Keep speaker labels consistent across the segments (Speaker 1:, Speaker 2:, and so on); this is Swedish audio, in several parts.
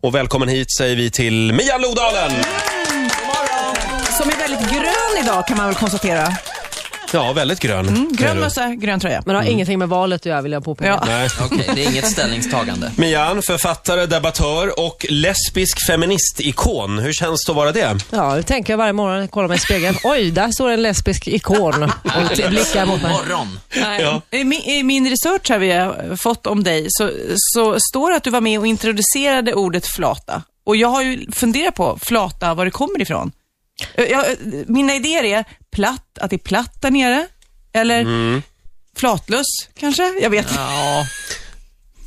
Speaker 1: Och välkommen hit säger vi till Mia Lodalen!
Speaker 2: Som är väldigt grön idag kan man väl konstatera.
Speaker 1: Ja, väldigt grön. är
Speaker 2: Mm, Grön
Speaker 1: du.
Speaker 2: mössa, grön tröja. Mm.
Speaker 3: Men har ingenting med valet att göra vill jag påpeka.
Speaker 2: Ja.
Speaker 1: Nej.
Speaker 4: Okej, det är inget ställningstagande.
Speaker 1: Mian, författare, debattör och lesbisk feministikon. Hur känns det att vara det?
Speaker 3: Ja, det tänker jag varje morgon när jag kollar mig i spegeln. Oj, där står en lesbisk ikon och blickar mot
Speaker 4: God
Speaker 3: mig.
Speaker 4: morgon.
Speaker 1: Ja.
Speaker 2: I min, I min research här vi har fått om dig så, så står det att du var med och introducerade ordet flata. Och jag har ju funderat på flata, var det kommer ifrån. Eh, Jag, eh, mina idéer är platt, att det är platt där nere. Eller flatlös kanske, jag vet.
Speaker 4: Ja,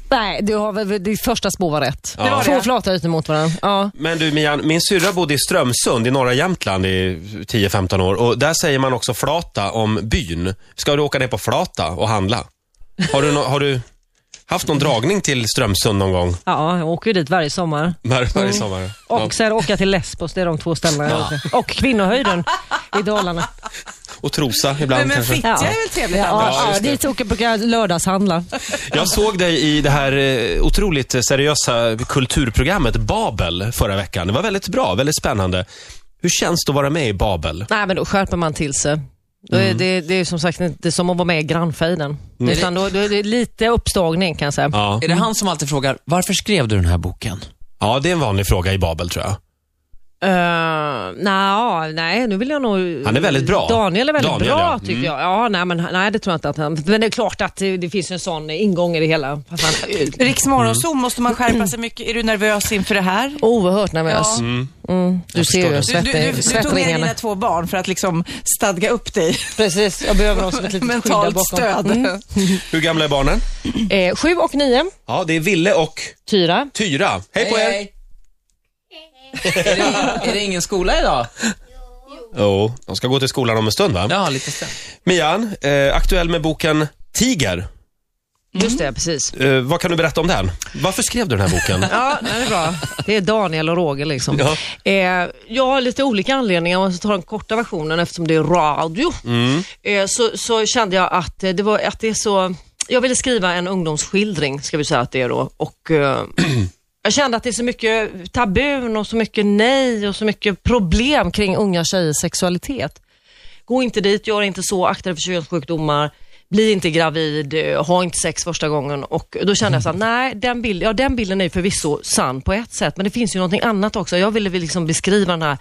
Speaker 3: Nej, du har väl, ditt första spår var rätt.
Speaker 2: var
Speaker 3: Två
Speaker 2: det.
Speaker 3: flata ut emot varandra. Ja.
Speaker 1: Men du Mian, min syrra bodde i Strömsund i norra Jämtland i 10-15 år och där säger man också flata om byn. Ska du åka ner på flata och handla? Har du, nå- har du haft någon dragning till Strömsund någon gång?
Speaker 3: ja, jag åker ju dit varje sommar.
Speaker 1: Var, varje sommar?
Speaker 3: Och
Speaker 1: Ja.
Speaker 3: sen åka till Lesbos, det är de två ställena jag åker. Och Kvinnohöjden i Dalarna.
Speaker 1: Och Trosa ibland
Speaker 2: Men, men
Speaker 1: kanske?
Speaker 2: Fittja
Speaker 3: Ja.
Speaker 2: är väl trevligt? ändå?
Speaker 3: Ja,
Speaker 1: just
Speaker 3: ja,
Speaker 1: det.
Speaker 3: dit åker jag brukar lördagshandla.
Speaker 1: Jag såg dig i det här eh, otroligt seriösa kulturprogrammet Babel förra veckan. Det var väldigt bra, väldigt spännande. Hur känns det att vara med i Babel?
Speaker 3: Nej, men då skärper man till sig. Då är det, det är ju som sagt inte som att vara med i grannfejden. Utan då, då är det lite uppstagning kan jag säga.
Speaker 1: Ja.
Speaker 4: är det han som alltid frågar, varför skrev du den här boken?
Speaker 1: ja, det är en vanlig fråga i Babel tror jag.
Speaker 3: Uh, nej, nej, nu vill jag nog...
Speaker 1: Han är väldigt bra.
Speaker 3: Daniel är väldigt
Speaker 1: Daniel,
Speaker 3: bra
Speaker 1: ja. Mm.
Speaker 3: tycker jag. Ja, nej, men, nej, det tror jag inte att han... Men det är klart att det, det finns en sån ingång i det hela. Fast han är
Speaker 2: Riksmorgonzoo, måste man skärpa sig mycket? Är du nervös inför det här?
Speaker 3: oerhört nervös.
Speaker 2: Ja.
Speaker 3: Du ser ju hur jag
Speaker 2: Du, du, du,
Speaker 3: svettig-
Speaker 2: du tog med
Speaker 3: svettringarna.
Speaker 2: dina två barn för att liksom stadga upp dig.
Speaker 3: Precis, jag behöver dem som ett litet skydd där
Speaker 2: Mentalt
Speaker 3: bakom. Mm.
Speaker 2: stöd.
Speaker 1: Hur gamla är barnen?
Speaker 3: Eh, sju och nio,
Speaker 1: Ja, det är Ville och
Speaker 2: Mm.
Speaker 3: Tyra.
Speaker 1: Tyra. Hej på er!
Speaker 4: Är det, är det ingen skola idag?
Speaker 1: Jo, de ska gå till skolan om en stund va?
Speaker 4: Ja, lite sen.
Speaker 1: Mian, eh, aktuell med boken Tiger.
Speaker 3: Just det, precis.
Speaker 1: Eh, vad kan du berätta om den? Varför skrev du den här boken?
Speaker 3: Ja, nej, det är bra. Det är Daniel och Roger liksom.
Speaker 1: Ja.
Speaker 3: Eh, jag har lite olika anledningar, om jag ska ta den korta versionen eftersom det är radio, eh, så, så kände jag att eh, det, var, att det är så... Jag ville skriva en ungdomsskildring, ska vi säga att det är då, och eh, jag kände att det är så mycket tabun och så mycket nej och så mycket problem kring unga tjejers sexualitet. Gå inte dit, gör inte så, akta dig för könssjukdomar, bli inte gravid, eh, ha inte sex första gången. Och då kände jag så här, nej, den, bild, ja, den bilden är ju förvisso sann på ett sätt, men det finns ju någonting annat också. Jag ville väl liksom beskriva den här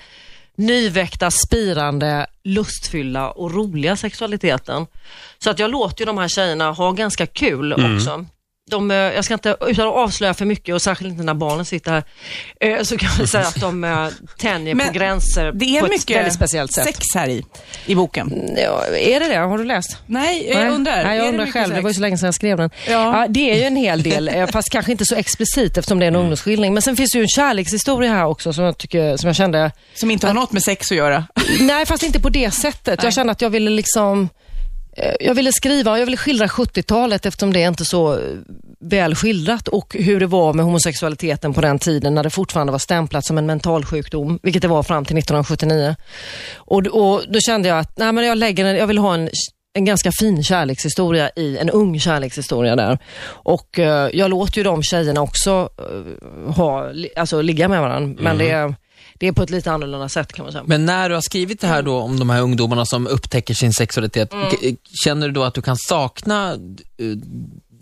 Speaker 3: nyväckta, spirande, lustfyllda och roliga sexualiteten. Så att jag låter ju de här tjejerna ha ganska kul också. De, eh, jag ska inte, utan att avslöja för mycket och särskilt inte när barnen sitter här, eh, så kan jag säga att de eh, tänjer
Speaker 2: Men
Speaker 3: på gränser
Speaker 2: Det är
Speaker 3: på ett
Speaker 2: mycket
Speaker 3: väldigt speciellt sätt.
Speaker 2: sex här i, i boken.
Speaker 3: Ja, är det det? Har du läst?
Speaker 2: Nej, jag undrar.
Speaker 3: Nej, jag
Speaker 2: är
Speaker 3: undrar
Speaker 2: mycket
Speaker 3: själv.
Speaker 2: sex?
Speaker 3: Det var ju så länge sedan jag skrev den.
Speaker 2: Ja.
Speaker 3: Ja. det är ju en hel del, eh, fast kanske inte så explicit eftersom det är en ungdomsskildring. Men sen finns det ju en kärlekshistoria här också som jag, tycker, som jag kände,
Speaker 2: Som inte har något med sex att göra.
Speaker 3: nej fast inte på det sättet. Jag kände att jag ville liksom, eh, jag ville skriva och jag ville skildra 70-talet eftersom det är inte så eh, väl skildrat och hur det var med homosexualiteten på den tiden när det fortfarande var stämplat som en mental sjukdom, vilket det var fram till 1979. Och, och då kände jag att nej, men jag, lägger, en- jag vill ha en, en ganska fin kärlekshistoria i en ung kärlekshistoria där. Och eh, jag låter ju de tjejerna också eh, ha, li- alltså, ligga med varandra, men det, är- det är på ett lite annorlunda sätt kan man säga.
Speaker 4: Men när du har skrivit det här då om de här ungdomarna som upptäcker sin sexualitet, k- eh, känner du då att du kan sakna eh,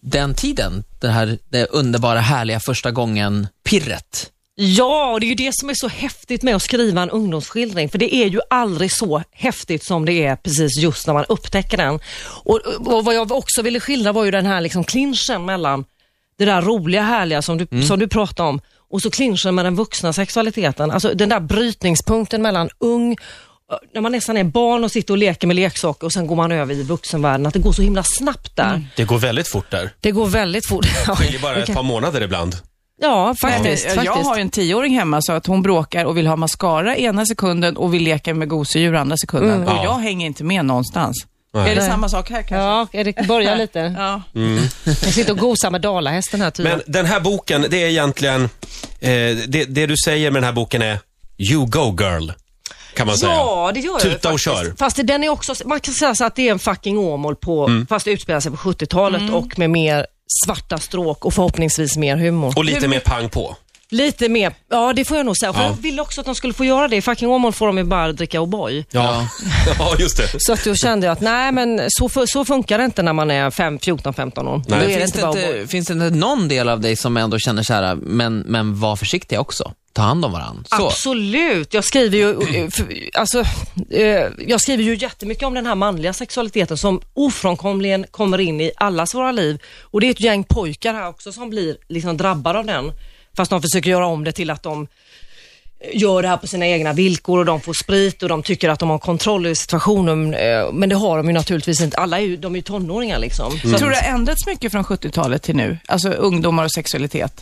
Speaker 4: den tiden? Det här det underbara, härliga första gången-pirret?
Speaker 3: Ja, och det är ju det som är så häftigt med att skriva en ungdomsskildring, för det är ju aldrig så häftigt som det är precis just när man upptäcker den. Och, och vad jag också ville skildra var ju den här liksom clinchen mellan det där roliga, härliga som du, som du pratade om och så clinchen med den vuxna sexualiteten. Alltså den där brytningspunkten mellan ung när man nästan är barn och sitter och leker med leksaker och sen går man över i vuxenvärlden, att det går så himla snabbt där.
Speaker 1: Det går väldigt fort där.
Speaker 3: Det går väldigt fort.
Speaker 1: Det är bara ett par månader ibland.
Speaker 3: Ja, faktiskt.
Speaker 2: eh, jag, jag
Speaker 3: faktiskt.
Speaker 2: har ju en tioåring hemma så att hon bråkar och vill ha mascara ena sekunden och vill leka med gosedjur andra sekunden. Och
Speaker 1: Ja.
Speaker 2: jag hänger inte med någonstans. Är det samma sak här kanske?
Speaker 3: Mm. Ja, Erik, börja lite.
Speaker 2: Ja.
Speaker 3: Jag sitter och gosar med dalahästen här tydligen.
Speaker 1: Men den här boken, det är egentligen, eh, det, det du säger med den här boken är You go girl, kan man säga.
Speaker 3: ja, det gör jag.
Speaker 1: Tuta och kör.
Speaker 3: Fast det- den är också, man kan säga så att det är en fucking Åmål på,
Speaker 1: Mm.
Speaker 3: fast det utspelar sig på Mm. 70-talet och med mer svarta stråk och förhoppningsvis mer humor.
Speaker 1: Och lite mer pang på.
Speaker 3: Lite mer, ja det får jag nog säga. För
Speaker 1: Ja.
Speaker 3: Jag ville också att de skulle få göra det. I fucking Åmål får de ju bara dricka O'boy.
Speaker 1: Ja. ja, just det.
Speaker 3: Så att då kände jag att nej men så, fu- så funkar det inte när man är fem- 14-15 år. Då
Speaker 1: Nej.
Speaker 3: är det
Speaker 4: Finns,
Speaker 3: inte
Speaker 4: det
Speaker 3: bara O'boy.
Speaker 4: inte, finns det inte någon del av dig som ändå känner så här, men, men var försiktiga också? Ta hand om varandra. Så.
Speaker 3: Absolut. Jag skriver ju eh, för- alltså, eh, jag skriver ju jättemycket om den här manliga sexualiteten som ofrånkomligen kommer in i allas våra liv. Och det är ett gäng pojkar här också som blir liksom drabbade av den. Fast de försöker göra om det till att de gör det här på sina egna villkor och de får sprit och de tycker att de har kontroll över situationen. eh, Men det har de ju naturligtvis inte. Alla är ju, de är ju tonåringar
Speaker 4: Mm.
Speaker 3: liksom. Så att-
Speaker 2: Tror du det har ändrats mycket från 70-talet till nu? Alltså ungdomar och sexualitet.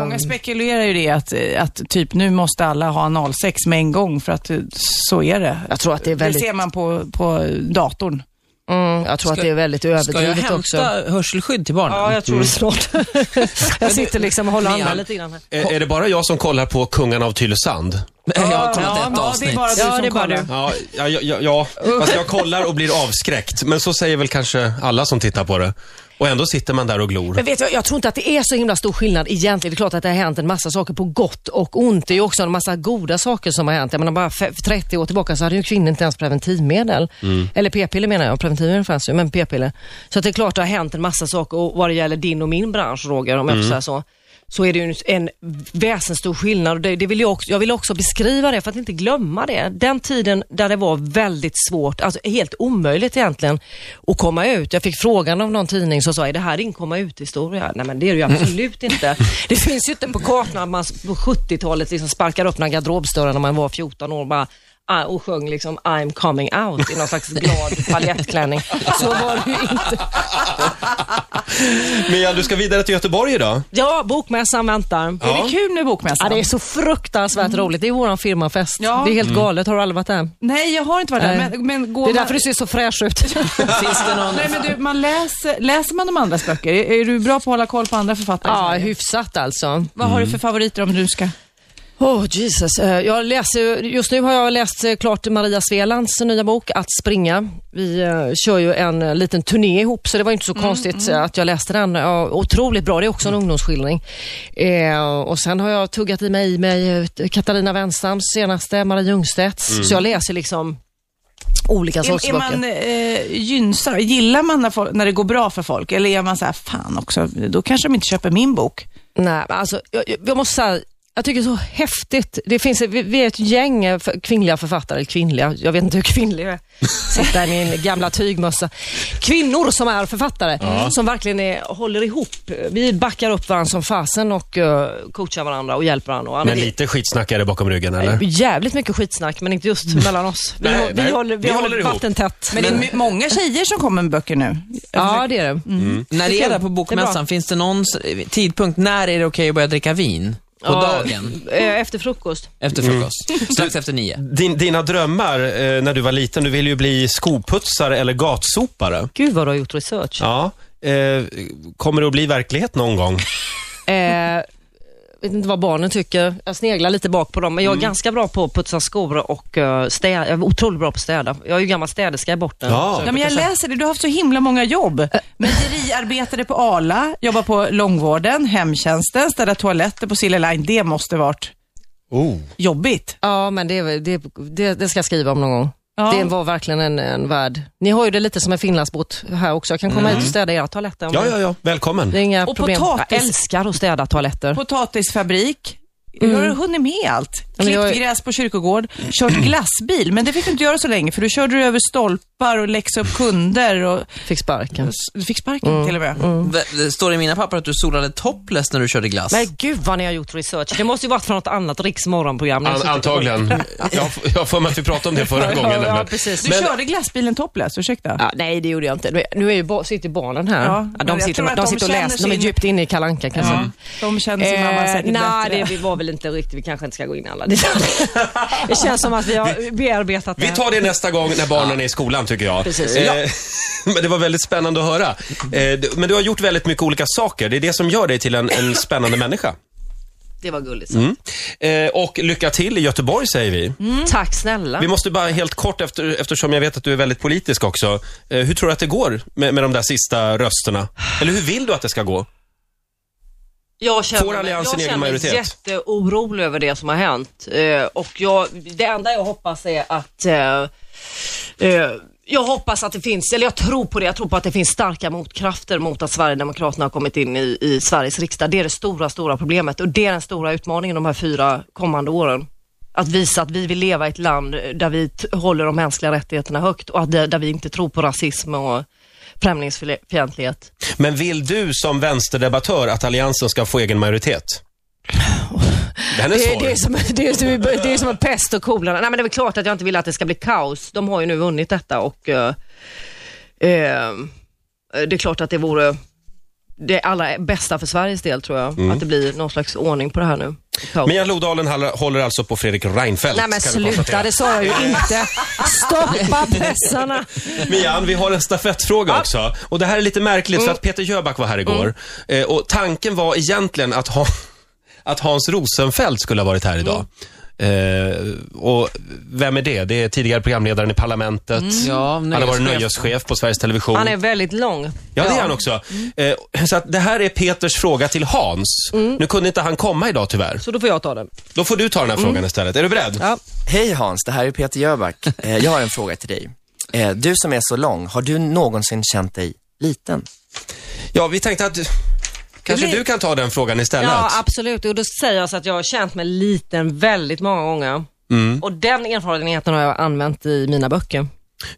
Speaker 2: Många spekulerar ju det att, att typ nu måste alla ha analsex med en gång för att eh, så är det.
Speaker 5: Jag tror att det är väldigt,
Speaker 2: Det ser man på, på datorn.
Speaker 5: mm, jag tror att det är väldigt
Speaker 4: Ska jag
Speaker 5: överdrivet
Speaker 4: hämta
Speaker 5: också.
Speaker 4: hörselskydd till barnen?
Speaker 3: Ja, jag tror det snart. jag sitter liksom och håller
Speaker 4: Men jag-
Speaker 3: andan lite grann här.
Speaker 1: Är, är det bara jag som kollar på Kungarna av Tylösand?
Speaker 4: jag har kollat ett
Speaker 2: ja,
Speaker 4: avsnitt.
Speaker 2: det är bara du
Speaker 3: Ja,
Speaker 2: som
Speaker 3: det är bara
Speaker 2: kollar.
Speaker 3: du.
Speaker 1: Ja, ja, ja, ja, fast jag kollar och blir avskräckt. Men så säger väl kanske alla som tittar på det. Och ändå sitter man där och glor.
Speaker 3: Men vet du, jag tror inte att det är så himla stor skillnad egentligen. Det är klart att det har hänt en massa saker på gott och ont. Det är ju också en massa goda saker som har hänt. Jag menar bara för för 30 år tillbaka så hade ju kvinnor inte ens preventivmedel. Eller p-piller menar jag. Preventivmedel fanns ju, men p-piller. Så att det är klart att det har hänt en massa saker och vad det gäller din och min bransch Roger, om jag får säga så. Så är det ju en väsensstor skillnad och det, det vill jag, också, jag vill också beskriva det för att inte glömma det. Den tiden där det var väldigt svårt, alltså helt omöjligt egentligen att komma ut. Jag fick frågan av någon tidning som sa, är det här din komma ut-historia? Nej men det är det ju absolut inte. Det finns ju inte på kartan att man på 70-talet liksom sparkar upp några garderobsdörrar när man var 14 år och bara ah, och sjöng liksom I'm coming out i någon slags glad paljettklänning. Så var det ju inte.
Speaker 1: Mia, du ska vidare till Göteborg idag.
Speaker 3: Ja, bokmässan väntar.
Speaker 2: Är det kul nu bokmässan?
Speaker 3: Ja, det är så fruktansvärt roligt. Det är våran firmafest.
Speaker 2: Ja.
Speaker 3: Det är helt galet. Har du aldrig varit där?
Speaker 2: Nej, jag har inte varit där.
Speaker 3: Nej.
Speaker 2: Men, men går
Speaker 3: Det är
Speaker 2: man...
Speaker 3: därför du ser så fräsch ut.
Speaker 4: Finns det någon...
Speaker 2: Nej, men du, man läser, läser man de andras böcker? Är, är du bra på att hålla koll på andra författare?
Speaker 3: ja, hyfsat alltså.
Speaker 2: Vad har du för favoriter om du ska?
Speaker 3: Oh Jesus. Eh, Jag läser, just nu har jag läst eh, klart Maria Svelands nya bok Att springa. Vi eh, kör ju en eh, liten turné ihop så det var inte så konstigt eh, att jag läste den. Ja, otroligt bra, det är också en ungdomsskildring. Eh, och sen har jag tuggat i mig, i mig eh, Katarina Wenstams senaste, Maria Ljungstedts. Så jag läser liksom olika sorters
Speaker 2: Är, är
Speaker 3: böcker.
Speaker 2: man eh, gynnsam? Gillar man när, folk, när det går bra för folk? Eller är man så här, fan också, då kanske de inte köper min bok.
Speaker 3: Nej, men alltså, jag, jag- jag måste säga, jag tycker det är så häftigt. Det finns, vi, vi är ett gäng eh, för- kvinnliga författare, eller kvinnliga, jag vet inte hur kvinnlig jag är. Sitter här med min gamla tygmössa. Kvinnor som är författare, som verkligen är, håller ihop. Vi backar upp varandra som fasen och eh, coachar varandra och hjälper varandra. Och alla-
Speaker 1: Men lite skitsnack är det bakom ryggen, eller? Mm.
Speaker 3: Jävligt mycket skitsnack, men inte just mellan oss. Vi,
Speaker 1: Nej,
Speaker 3: hå- vi
Speaker 1: nej,
Speaker 3: håller, vi
Speaker 1: vi håller
Speaker 3: håller,
Speaker 1: ihop.
Speaker 3: vattentätt.
Speaker 2: Men, det är my- många tjejer som kommer med böcker nu.
Speaker 1: Mm.
Speaker 3: ja, det är det.
Speaker 4: Mm. När det
Speaker 3: Det är
Speaker 4: är där på
Speaker 3: kul. Det är bra.
Speaker 4: bokmässan, finns det någon s- tidpunkt, när är det okej att börja dricka vin? På
Speaker 3: Ja,
Speaker 4: dagen?
Speaker 3: eh, Efter frukost.
Speaker 4: Efter frukost? Strax efter nio?
Speaker 1: Din, dina drömmar eh, när du var liten, du ville ju bli skoputsare eller gatsopare.
Speaker 3: Gud vad du har gjort research.
Speaker 1: Ja. Eh, kommer det att bli verklighet någon gång?
Speaker 3: Eh, vet inte vad barnen tycker. Jag sneglar lite bak på dem, men jag är
Speaker 1: Mm.
Speaker 3: ganska bra på att putsa skor och uh, städa. Jag är otroligt bra på att städa. Jag är ju gammal städerska i botten.
Speaker 1: Ja.
Speaker 3: Så
Speaker 2: Ja, men jag
Speaker 3: brukar
Speaker 2: läser det, du har haft så himla många jobb. Mejeriarbetare på Arla, jobbar på långvården, hemtjänsten, städar toaletter på Silja Line. Det måste varit
Speaker 1: Oh.
Speaker 2: jobbigt.
Speaker 3: Ja, men det, är- det, det, det ska jag skriva om någon gång.
Speaker 2: Ja.
Speaker 3: Det var verkligen en, en värld. Ni har ju det lite som en finlandsbåt här också. Jag kan komma hit och städa era toaletter. om
Speaker 1: Mm. Ja,
Speaker 3: ni-
Speaker 1: ja, ja. Välkommen.
Speaker 3: Det är inga
Speaker 2: Och
Speaker 3: problem.
Speaker 2: potatis.
Speaker 3: Jag älskar att städa toaletter.
Speaker 2: Potatisfabrik. Hur har du hunnit med allt?
Speaker 3: Mm. Ja,
Speaker 2: Klippt
Speaker 3: men jag är-
Speaker 2: gräs på kyrkogård, kört glassbil, men det fick du inte göra så länge för du körde du över stolpar och läxade upp kunder och
Speaker 3: Fick sparken.
Speaker 2: du fick sparken
Speaker 3: Mm,
Speaker 2: till och med.
Speaker 4: V- Det står i mina papper att du solade topless när du körde glass.
Speaker 3: Men gud vad ni har gjort research. Det måste ju varit från något annat Riks morgonprogram. Ni har
Speaker 1: An-
Speaker 3: suttit och-
Speaker 1: antagligen. Jag jag har för mig att vi pratade om det förra gången.
Speaker 3: Ja, ja,
Speaker 1: nämligen.
Speaker 3: precis.
Speaker 2: Du körde glassbilen topless, ursäkta?
Speaker 3: Ja, nej, det gjorde jag inte. Nu är- Nu är ju, ba- sitter ju barnen här.
Speaker 2: Ja,
Speaker 3: Ja,
Speaker 2: men
Speaker 3: de,
Speaker 2: jag
Speaker 3: sitter,
Speaker 2: tror
Speaker 3: de,
Speaker 2: att de
Speaker 3: sitter och
Speaker 2: känner
Speaker 3: läser. De är
Speaker 2: sin-
Speaker 3: djupt inne i Kalle Anka kanske.
Speaker 2: Ja. De känner sin mamma
Speaker 3: Eh,
Speaker 2: säkert
Speaker 3: nej,
Speaker 2: bättre.
Speaker 3: det var väl inte riktigt. Vi kanske inte ska gå in i alla detaljer. det känns som att vi har bearbetat
Speaker 1: Vi
Speaker 3: det.
Speaker 1: tar det nästa gång när barnen är i skolan tycker jag.
Speaker 3: Precis.
Speaker 1: Eh, Men det var väldigt spännande att höra. Eh, d- Men du har gjort väldigt mycket olika saker. Det är det som gör dig till en, en spännande människa.
Speaker 3: Det var gulligt. så.
Speaker 1: Eh, Och lycka till i Göteborg säger vi.
Speaker 3: Mm. Tack snälla.
Speaker 1: Vi måste bara helt kort, efter, eftersom jag vet att du är väldigt politisk också. Eh, Hur tror du att det går med, med de där sista rösterna? Eller hur vill du att det ska gå?
Speaker 3: Jag känner,
Speaker 1: Får alliansen
Speaker 3: jag
Speaker 1: egen
Speaker 3: känner
Speaker 1: majoritet?
Speaker 3: jätteorolig över det som har hänt. Eh, och jag, det enda jag hoppas är att eh, eh, jag hoppas att det finns, eller jag tror på det, jag tror på att det finns starka motkrafter mot att Sverigedemokraterna har kommit in i, i Sveriges riksdag. Det är det stora, stora problemet och det är den stora utmaningen de här fyra kommande åren. Att visa att vi vill leva i ett land där vi t- håller de mänskliga rättigheterna högt och att det, där vi inte tror på rasism och främlingsfientlighet.
Speaker 1: Men vill du som vänsterdebattör att alliansen ska få egen majoritet? Den är
Speaker 3: Det är,
Speaker 1: svår.
Speaker 3: det, är som, det, är som, det är som en pest och kolera. Nej men det är väl klart att jag inte vill att det ska bli kaos. De har ju nu vunnit detta och eh, eh, det är klart att det vore det allra bästa för Sveriges del tror jag. Att det blir någon slags ordning på det här nu. Kaos.
Speaker 1: Mia Lodalen hall- håller alltså på Fredrik Reinfeldt.
Speaker 5: Nej men
Speaker 1: kan vi konstatera.
Speaker 5: sluta, det sa jag ju inte. Stoppa pressarna.
Speaker 1: Mian, vi har en stafettfråga också. Och det här är lite märkligt för att Peter Jöback var här igår. Eh, och tanken var egentligen att, ha, att Hans Rosenfeldt skulle ha varit här idag. Eh, och vem är det? Det är tidigare programledaren i Parlamentet.
Speaker 4: Mm. Ja,
Speaker 1: Han har varit
Speaker 4: nöjeschef.
Speaker 1: nöjeschef på Sveriges Television.
Speaker 3: Han är väldigt lång.
Speaker 1: Ja, det är han också. Eh, så att det här är Peters fråga till Hans.
Speaker 3: Mm.
Speaker 1: Nu kunde inte han komma idag tyvärr.
Speaker 3: Så då får jag ta den.
Speaker 1: Då får du ta den här frågan istället. Är du beredd?
Speaker 3: Mm. Ja.
Speaker 6: Hej Hans, det här är Peter Jöback. Eh, Jag har en fråga till dig. Eh, Du som är så lång, har du någonsin känt dig liten?
Speaker 1: Ja, vi tänkte att kanske
Speaker 3: blir-
Speaker 1: du kan ta den frågan istället.
Speaker 3: Ja absolut och då säger jag så att jag har känt mig liten väldigt många gånger. Och den erfarenheten har jag använt i mina böcker.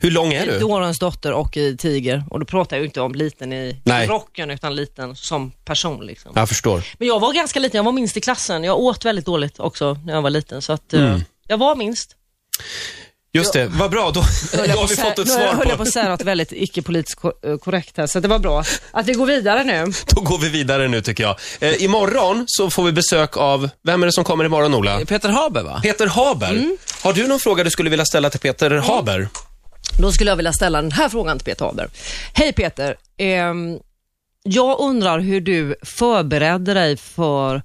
Speaker 1: Hur lång är
Speaker 3: I
Speaker 1: du?
Speaker 3: Dårens dotter och i Tiger. Och då pratar jag ju inte om liten i
Speaker 1: Nej.
Speaker 3: rocken utan liten som person. Liksom.
Speaker 1: Jag förstår.
Speaker 3: Men jag var ganska liten, jag var minst i klassen. Jag åt väldigt dåligt också när jag var liten. Så att,
Speaker 1: Mm.
Speaker 3: eh, jag var minst.
Speaker 1: Just det, vad bra. Då, då
Speaker 3: jag
Speaker 1: har
Speaker 3: på
Speaker 1: vi
Speaker 3: att
Speaker 1: fått ett
Speaker 3: säga- nu höll
Speaker 1: svar
Speaker 3: jag
Speaker 1: på.
Speaker 3: på att säga något väldigt icke politiskt ko- eh, korrekt här, så att det var bra att vi går vidare nu.
Speaker 1: Då går vi vidare nu tycker jag. Eh, imorgon så får vi besök av, vem är det som kommer imorgon Ola?
Speaker 3: Mm.
Speaker 4: Peter Haber va?
Speaker 1: Peter Haber. Har du någon fråga du skulle vilja ställa till Peter
Speaker 3: Mm.
Speaker 1: Haber?
Speaker 3: Då skulle jag vilja ställa den här frågan till Peter Haber. Hej Peter, ehm, jag undrar hur du förberedde dig för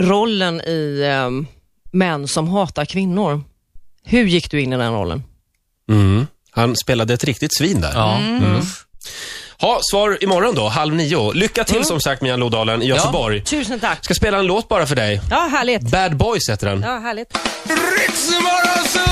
Speaker 3: rollen i ehm, Män som hatar kvinnor. Hur gick du in i den rollen?
Speaker 1: Mm. Han spelade ett riktigt svin där. Mm.
Speaker 4: Ja.
Speaker 1: Ha, svar imorgon då, halv nio. Lycka till som sagt Mian Lodalen i Göteborg.
Speaker 3: Tusen tack.
Speaker 1: Ska spela en låt bara för dig.
Speaker 3: Ja, härligt.
Speaker 1: Bad Boys heter den.
Speaker 3: Ja, härligt.
Speaker 1: Ritzmorgonzoo!